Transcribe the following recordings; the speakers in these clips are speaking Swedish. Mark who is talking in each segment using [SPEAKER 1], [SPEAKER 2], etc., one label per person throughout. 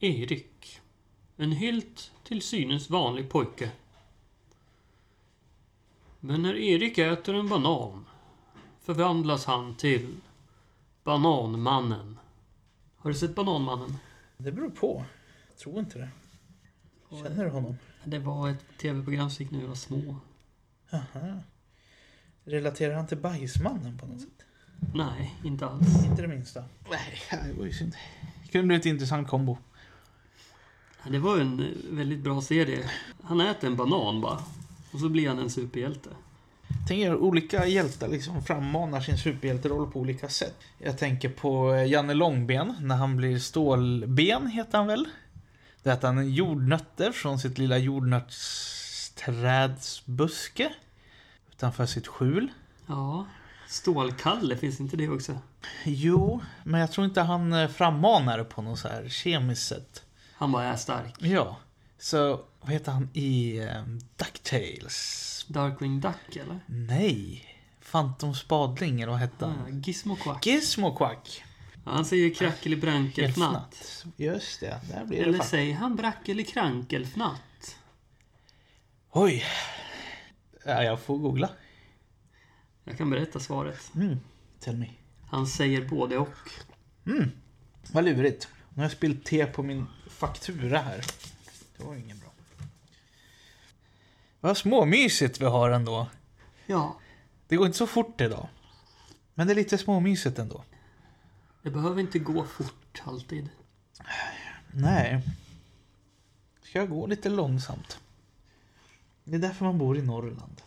[SPEAKER 1] Erik. En helt till synes vanlig pojke. Men när Erik äter en banan förvandlas han till Bananmannen. Har du sett Bananmannen?
[SPEAKER 2] Det beror på. Jag tror inte det. Känner du honom?
[SPEAKER 1] Det var ett tv-program som gick när vi var små.
[SPEAKER 2] Aha. Relaterar han till Bajsmannen på något sätt?
[SPEAKER 1] Nej, inte alls.
[SPEAKER 2] Inte det minsta.
[SPEAKER 3] Nej, det var ju synd. Det kunde bli ett intressant kombo.
[SPEAKER 1] Det var en eh, väldigt bra serie. Han äter en banan bara. Och så blir han en superhjälte.
[SPEAKER 3] Tänk er olika hjältar liksom frammanar sin superhjälteroll på olika sätt. Jag tänker på eh, Janne Långben när han blir Stålben heter han väl? Då äter han jordnötter från sitt lilla jordnötsträdsbuske. Utanför sitt skjul.
[SPEAKER 1] Ja. Stålkalle, finns inte det också?
[SPEAKER 3] Jo, men jag tror inte han eh, frammanar det på något så här kemiskt sätt.
[SPEAKER 1] Han bara är stark.
[SPEAKER 3] Ja, så vad heter han i eh, Ducktails?
[SPEAKER 1] Darkwing Duck, eller?
[SPEAKER 3] Nej, Fantom Spadling eller vad hette
[SPEAKER 1] Ja,
[SPEAKER 3] han?
[SPEAKER 1] Gizmo Quack.
[SPEAKER 3] Gizmo Quack.
[SPEAKER 1] Ja, Han
[SPEAKER 3] Äh,
[SPEAKER 1] säger krackelibrankelfnatt.
[SPEAKER 3] Elfnatt. Just det, där blir det
[SPEAKER 1] Eller
[SPEAKER 3] faktiskt.
[SPEAKER 1] säger han brackelikrankelfnatt?
[SPEAKER 3] Oj. Ja, jag får googla.
[SPEAKER 1] Jag kan berätta svaret.
[SPEAKER 3] Mm. Tell me.
[SPEAKER 1] Han säger både och.
[SPEAKER 3] Vad lurigt. Nu har jag spillt te på min faktura här. Det var ju ingen bra. Vad småmysigt vi har ändå.
[SPEAKER 1] Ja,
[SPEAKER 3] Det går inte så fort idag. Men det är lite småmysigt ändå.
[SPEAKER 1] det behöver inte gå fort alltid.
[SPEAKER 3] Nej. Ska jag gå lite långsamt? Det är därför man bor i Norrland.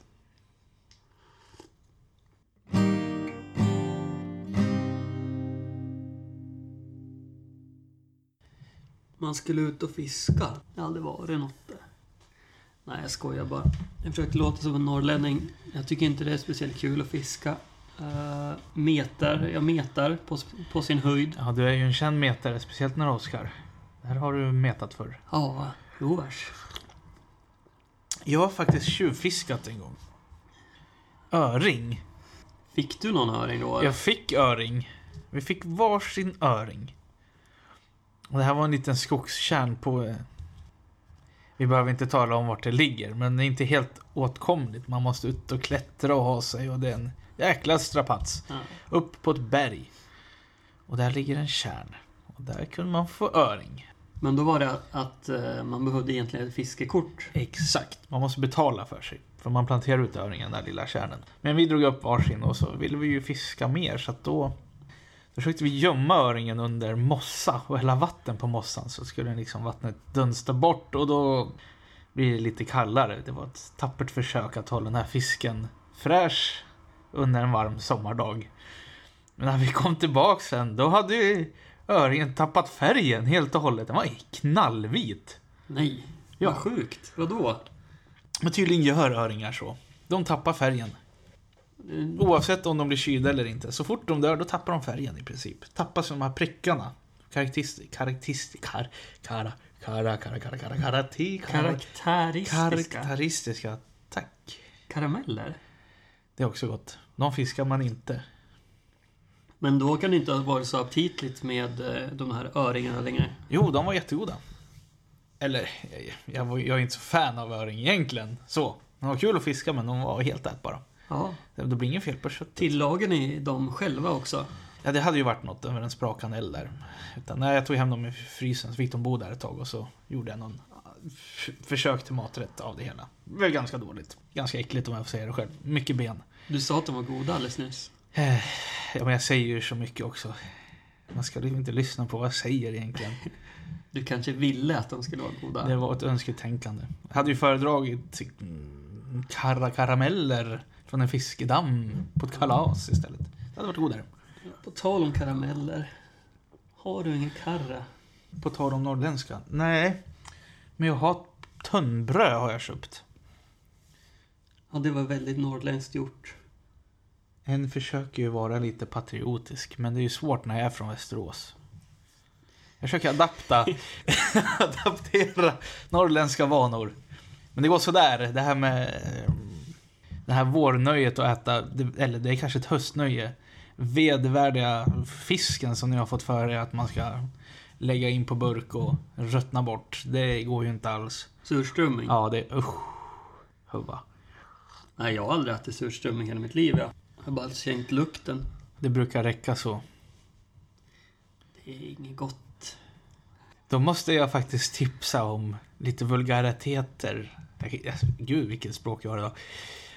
[SPEAKER 1] Man skulle ut och fiska. Det har aldrig varit något där. Nej, jag skojar bara. Jag försökte låta som en norrlänning. Jag tycker inte det är speciellt kul att fiska. Eh, metar, jag metar på, på sin höjd.
[SPEAKER 3] Ja, du är ju en känd metare, speciellt när du Oskar. Det här har du metat för.
[SPEAKER 1] Ja, jo vars.
[SPEAKER 3] Jag har faktiskt tjuvfiskat en gång. Öring.
[SPEAKER 1] Fick du någon öring då? eller?
[SPEAKER 3] Jag fick öring. Vi fick varsin öring. Och det här var en liten skogstjärn på... eh, Vi behöver inte tala om vart det ligger, men det är inte helt åtkomligt. Man måste ut och klättra och ha sig och det är en jäkla strapats.
[SPEAKER 1] Ja.
[SPEAKER 3] Upp på ett berg. Och där ligger en tjärn. Och där kunde man få öring.
[SPEAKER 1] Men då var det att, att eh, man behövde egentligen ett fiskekort.
[SPEAKER 3] Exakt. Man måste betala för sig. För man planterar ut öringen, den där lilla kärnan. Men vi drog upp varsin och så ville vi ju fiska mer så att då, då försökte vi gömma öringen under mossa och hälla vatten på mossan så skulle den liksom vattnet dunsta bort och då blir det lite kallare. Det var ett tappert försök att hålla den här fisken fräsch under en varm sommardag. Men när vi kom tillbaka sen då hade ju öringen tappat färgen helt och hållet. Den var knallvit.
[SPEAKER 1] Nej.
[SPEAKER 3] Ja.
[SPEAKER 1] Vad sjukt. Vadå?
[SPEAKER 3] Men tydligen gör öringar så. De tappar färgen.
[SPEAKER 1] Eh,
[SPEAKER 3] Oavsett om de blir kylda eller inte. Så fort de dör, då tappar de färgen i princip. Tappas de här prickarna. Karaktäristik, karaktäristik, kar, kara, kara, kara, kara, kara, karati, kara,
[SPEAKER 1] Karaktäristiska.
[SPEAKER 3] karaktäristiska. Tack.
[SPEAKER 1] Karameller?
[SPEAKER 3] Det är också gott. De fiskar man inte.
[SPEAKER 1] Men då kan det inte ha varit så aptitligt med eh, de här öringarna längre.
[SPEAKER 3] Jo, de var jättegoda. Eller, jag, jag, var, jag är inte så fan av öring egentligen. Så. De var kul att fiska, men de var helt ätbara.
[SPEAKER 1] Ja.
[SPEAKER 3] Det blir inget fel på köttet.
[SPEAKER 1] Tillagen är de själva också.
[SPEAKER 3] Ja, det hade ju varit något över en sprakande eld där. Utan, nej, jag tog hem dem i frysen, så fick de bo där ett tag och så gjorde jag någon ah, f- försök till maträtt av det hela. Det var ganska dåligt. Ganska äckligt om jag får säga det själv. Mycket ben.
[SPEAKER 1] Du sa att de var goda alldeles nyss.
[SPEAKER 3] Eh, Ja, men jag säger ju så mycket också. Man ska ju inte lyssna på vad jag säger egentligen.
[SPEAKER 1] Du kanske ville att de skulle vara goda.
[SPEAKER 3] Det var ett önsketänkande. Jag hade ju föredragit mm, karra karameller från en fiskedamm på ett kalas istället. Det hade varit godare.
[SPEAKER 1] På tal om karameller. Har du ingen karra?
[SPEAKER 3] På tal om norrländska. Nej. Men jag har tunnbröd har jag köpt.
[SPEAKER 1] Ja, det var väldigt norrländskt gjort.
[SPEAKER 3] En försöker ju vara lite patriotisk, men det är ju svårt när jag är från Västerås. Jag försöker adapta, adaptera norrländska vanor. Men det går sådär, det här med eh, det här vårnöjet att äta, det- eller det är kanske ett höstnöje, vedervärdiga fisken som ni har fått för er att man ska lägga in på burk och ruttna bort. Det går ju inte alls.
[SPEAKER 1] Surströmming?
[SPEAKER 3] Ja, det är usch. Hubba.
[SPEAKER 1] Nej, jag har aldrig ätit surströmming hela mitt liv. Jag har bara känt lukten.
[SPEAKER 3] Det brukar räcka så.
[SPEAKER 1] Det är inget gott.
[SPEAKER 3] Då måste jag faktiskt tipsa om lite vulgariteter. Jag- jag- Gud, vilket språk jag har idag.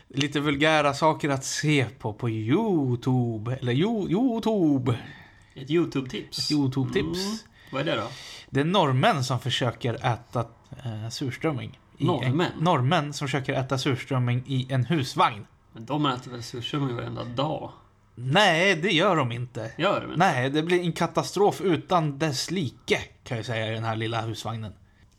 [SPEAKER 3] Lite vulgära saker att se på på Youtube. Eller Jo- Youtube.
[SPEAKER 1] Ett YouTube-tips.
[SPEAKER 3] Ett Youtube-tips.
[SPEAKER 1] Mm. Vad är det då?
[SPEAKER 3] Det är norrmän som försöker äta eh, surströmming. i
[SPEAKER 1] Norrmän?
[SPEAKER 3] En, norrmän som försöker äta surströmming i en husvagn.
[SPEAKER 1] Men de äter väl surströmming varenda dag?
[SPEAKER 3] Nej, det gör de inte.
[SPEAKER 1] Gör de inte?
[SPEAKER 3] Nej, det blir en katastrof utan dess like, kan jag säga, i den här lilla husvagnen.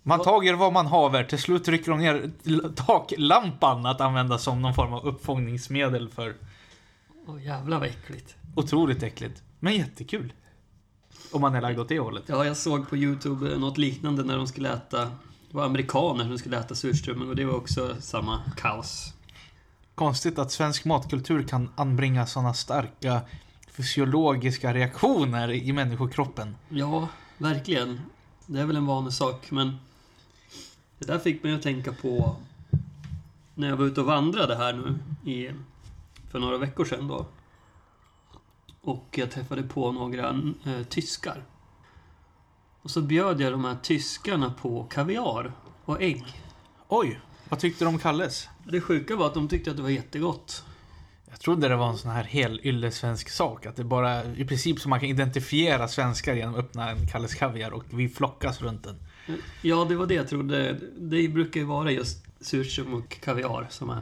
[SPEAKER 3] Man
[SPEAKER 1] Vad-
[SPEAKER 3] tager vad man haver, till slut rycker de ner l- taklampan att använda som någon form av uppfångningsmedel för
[SPEAKER 1] Åh jävlar vad äckligt.
[SPEAKER 3] otroligt äckligt. Men jättekul. Om man är lagd åt det hållet.
[SPEAKER 1] Ja, jag såg på YouTube eh, något liknande när de skulle äta... Det var amerikaner som skulle äta surströmming och det var också samma kaos.
[SPEAKER 3] Konstigt att svensk matkultur kan anbringa sådana starka fysiologiska reaktioner i människokroppen.
[SPEAKER 1] Ja, verkligen. Det är väl en vanlig sak, men... Det där fick mig att tänka på när jag var ute och vandrade här nu i, för några veckor sedan då. Och jag träffade på några eh, tyskar. Och så bjöd jag de här tyskarna på kaviar och ägg.
[SPEAKER 3] Oj, vad tyckte de om Kalles?
[SPEAKER 1] Det sjuka var att de tyckte att det var jättegott.
[SPEAKER 3] Jag trodde det var en sån här hel yllesvensk sak. Att det bara, i princip som man kan identifiera svenskar genom att öppna en Kalles Kaviar och vi flockas runt den.
[SPEAKER 1] Ja, det var det jag trodde. Det brukar ju vara just surström och kaviar som är...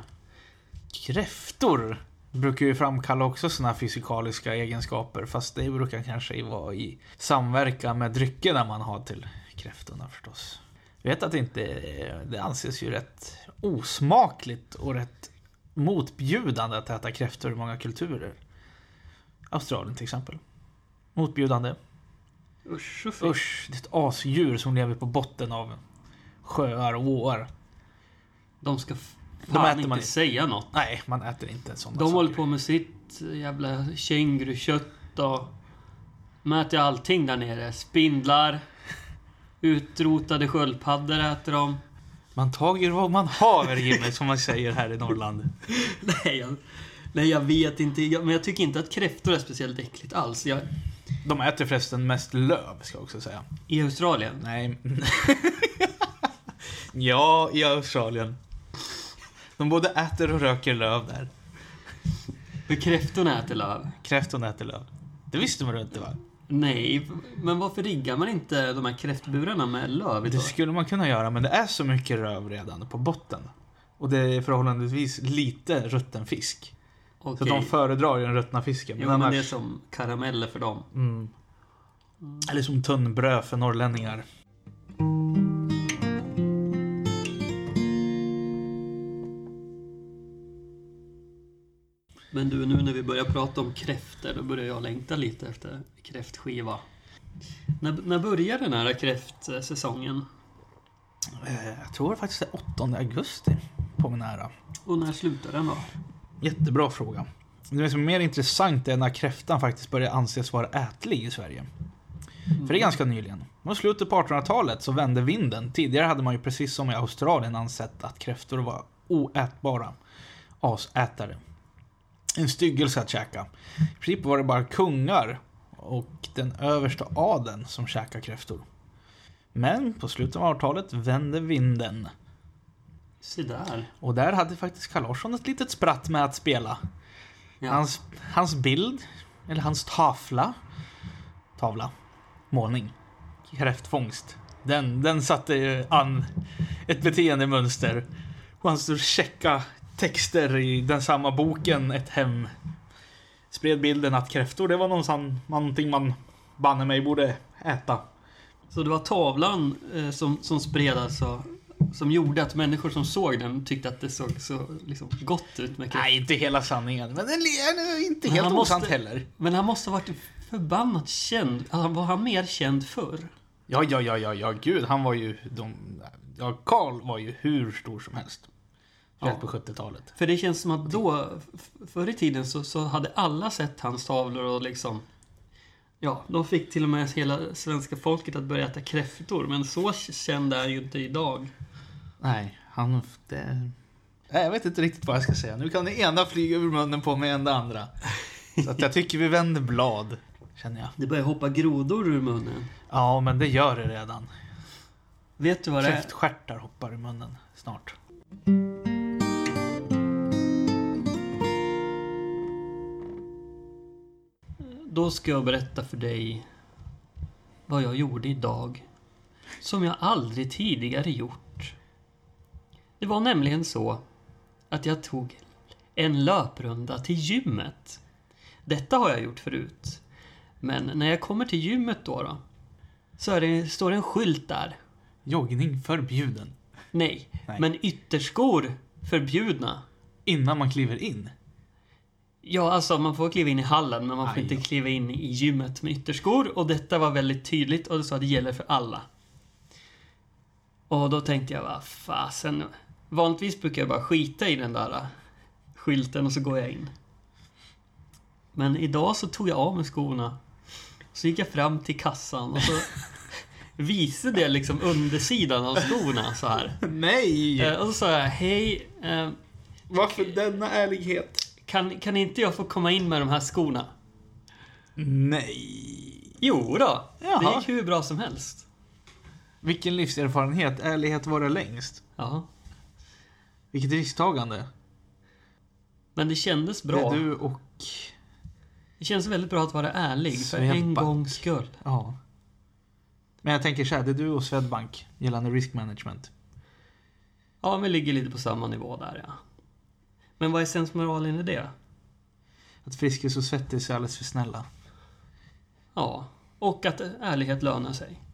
[SPEAKER 3] Kräftor brukar ju framkalla också såna här fysikaliska egenskaper. Fast det brukar kanske vara i samverkan med dryckerna man har till kräftorna förstås. Jag vet att det inte det anses ju rätt osmakligt och rätt motbjudande att äta kräftor i många kulturer. Australien till exempel. Motbjudande.
[SPEAKER 1] Usch och fy.
[SPEAKER 3] Usch, det är ett asdjur som lever på botten av sjöar och åar.
[SPEAKER 1] De ska f-
[SPEAKER 3] De
[SPEAKER 1] fan
[SPEAKER 3] äter
[SPEAKER 1] inte
[SPEAKER 3] man inte.
[SPEAKER 1] säga något.
[SPEAKER 3] Nej, man äter inte en sån
[SPEAKER 1] De håller på med sitt jävla kängurukött och... De äter allting där nere. Spindlar. Utrotade sköldpaddor äter de.
[SPEAKER 3] Man tager vad man haver, Jimmy, som man säger här i Norrland.
[SPEAKER 1] Nej, jag, nej, jag vet inte. Jag, men jag tycker inte att kräftor är speciellt äckligt alls. Jag,
[SPEAKER 3] De äter förresten mest löv, ska jag också säga.
[SPEAKER 1] I Australien.
[SPEAKER 3] Nej. ja, i Australien. De både äter och röker löv där.
[SPEAKER 1] Men kräftorna äter löv.
[SPEAKER 3] Kräftorna äter löv. Det visste man inte, va?
[SPEAKER 1] Nej, men varför riggar man inte de här kräftburarna med löv?
[SPEAKER 3] Det
[SPEAKER 1] idag?
[SPEAKER 3] skulle man kunna göra, men det är så mycket röv redan på botten. Och det är förhållandevis lite rutten fisk. Så
[SPEAKER 1] Okej.
[SPEAKER 3] de föredrar ju den ruttna fisken.
[SPEAKER 1] Jo,
[SPEAKER 3] men
[SPEAKER 1] men det är
[SPEAKER 3] annars-
[SPEAKER 1] som karameller för dem.
[SPEAKER 3] Mm. Eller som tunnbröd för norrlänningar.
[SPEAKER 1] Men du, nu när vi börjar prata om kräftor, då börjar jag längta lite efter kräftskiva. När, när börjar den här kräftsäsongen?
[SPEAKER 3] Eh, Jag tror faktiskt det är 8 augusti på min ära.
[SPEAKER 1] Och när slutar den då?
[SPEAKER 3] Mm. Jättebra fråga. Det som är mer intressant är när kräftan faktiskt börjar anses vara ätlig i Sverige. För det är ganska nyligen. Och slutet på 1800-talet så vände vinden. Tidigare hade man ju precis som i Australien ansett att kräftor var oätbara. Asätare. En styggelse att käka. I princip var det bara kungar och den översta adeln som käkade kräftor. Men på slutet av 1800-talet vände vinden.
[SPEAKER 1] Se där.
[SPEAKER 3] Och där hade faktiskt Carl Larsson ett litet spratt med att spela.
[SPEAKER 1] Ja.
[SPEAKER 3] Hans, hans bild, eller hans tavla, tavla, målning, kräftfångst. Den, den satte ju an ett beteendemönster. Och han stod checka texter i den samma boken, ett hem. Spred bilden att kräftor, det var någonsan- någonting man banne mig borde äta.
[SPEAKER 1] Så det var tavlan eh, som, som spred alltså, som gjorde att människor som såg den tyckte att det såg så liksom, gott ut med kräftor.
[SPEAKER 3] Nej, inte hela sanningen, men det är inte
[SPEAKER 1] Men
[SPEAKER 3] helt
[SPEAKER 1] han måste-
[SPEAKER 3] osant heller.
[SPEAKER 1] Men han måste ha varit förbannat känd. Alltså, var han mer känd förr?
[SPEAKER 3] Ja, ja, ja, ja, ja, gud, han var ju... De, ja, Karl var ju hur stor som helst. Speciellt på 70-talet.
[SPEAKER 1] För det känns som att då, f- förr i tiden så, så hade alla sett hans tavlor och liksom Ja, de fick till och med hela svenska folket att börja äta kräftor, men så känd är han ju inte idag.
[SPEAKER 3] Nej, han... Det... Nej, jag vet inte riktigt vad jag ska säga. Nu kan det ena flyga ur munnen på mig än det andra. Så att jag tycker vi vänder blad, känner jag.
[SPEAKER 1] Det börjar hoppa grodor ur munnen.
[SPEAKER 3] Ja, men det gör det redan.
[SPEAKER 1] Vet du vad det är?
[SPEAKER 3] Kräftstjärtar hoppar ur munnen snart.
[SPEAKER 1] Då ska jag berätta för dig vad jag gjorde idag som jag aldrig tidigare gjort. Det var nämligen så att jag tog en löprunda till gymmet. Detta har jag gjort förut. Men när jag kommer till gymmet då, då så är det, står det en skylt där.
[SPEAKER 3] Joggning förbjuden.
[SPEAKER 1] Nej,
[SPEAKER 3] Nej.
[SPEAKER 1] men ytterskor förbjudna.
[SPEAKER 3] Innan man kliver in.
[SPEAKER 1] Ja, alltså man får kliva in i hallen men man får
[SPEAKER 3] Aj
[SPEAKER 1] inte
[SPEAKER 3] då.
[SPEAKER 1] kliva in i gymmet med ytterskor och detta var väldigt tydligt och det sa att det gäller för alla. Och då tänkte jag, vad fasen. Vanligtvis brukar jag bara skita i den där äh, skylten och så går jag in. Men idag så tog jag av mig skorna. Så gick jag fram till kassan och så visade jag liksom undersidan av skorna så här.
[SPEAKER 3] Nej!
[SPEAKER 1] Eh, Och så sa jag, hej. eh,
[SPEAKER 3] Varför denna ärlighet?
[SPEAKER 1] Kan, kan inte jag få komma in med de här skorna?
[SPEAKER 3] Nej.
[SPEAKER 1] Jo då, det
[SPEAKER 3] Jaha.
[SPEAKER 1] gick hur bra som helst.
[SPEAKER 3] Vilken livserfarenhet. Ärlighet varar längst.
[SPEAKER 1] Ja.
[SPEAKER 3] Vilket risktagande.
[SPEAKER 1] Men det kändes bra.
[SPEAKER 3] Det är du och...
[SPEAKER 1] Det känns väldigt bra att vara ärlig för en
[SPEAKER 3] Swedbank.
[SPEAKER 1] gångs skull.
[SPEAKER 3] Ja. Men jag tänker så här, det är du och Swedbank gällande risk management.
[SPEAKER 1] Ja, men ligger lite på samma nivå där ja. Men vad är sensmoralen i det?
[SPEAKER 3] Att Friskis och Svettis är alldeles för snälla.
[SPEAKER 1] Ja. Och att ärlighet lönar sig.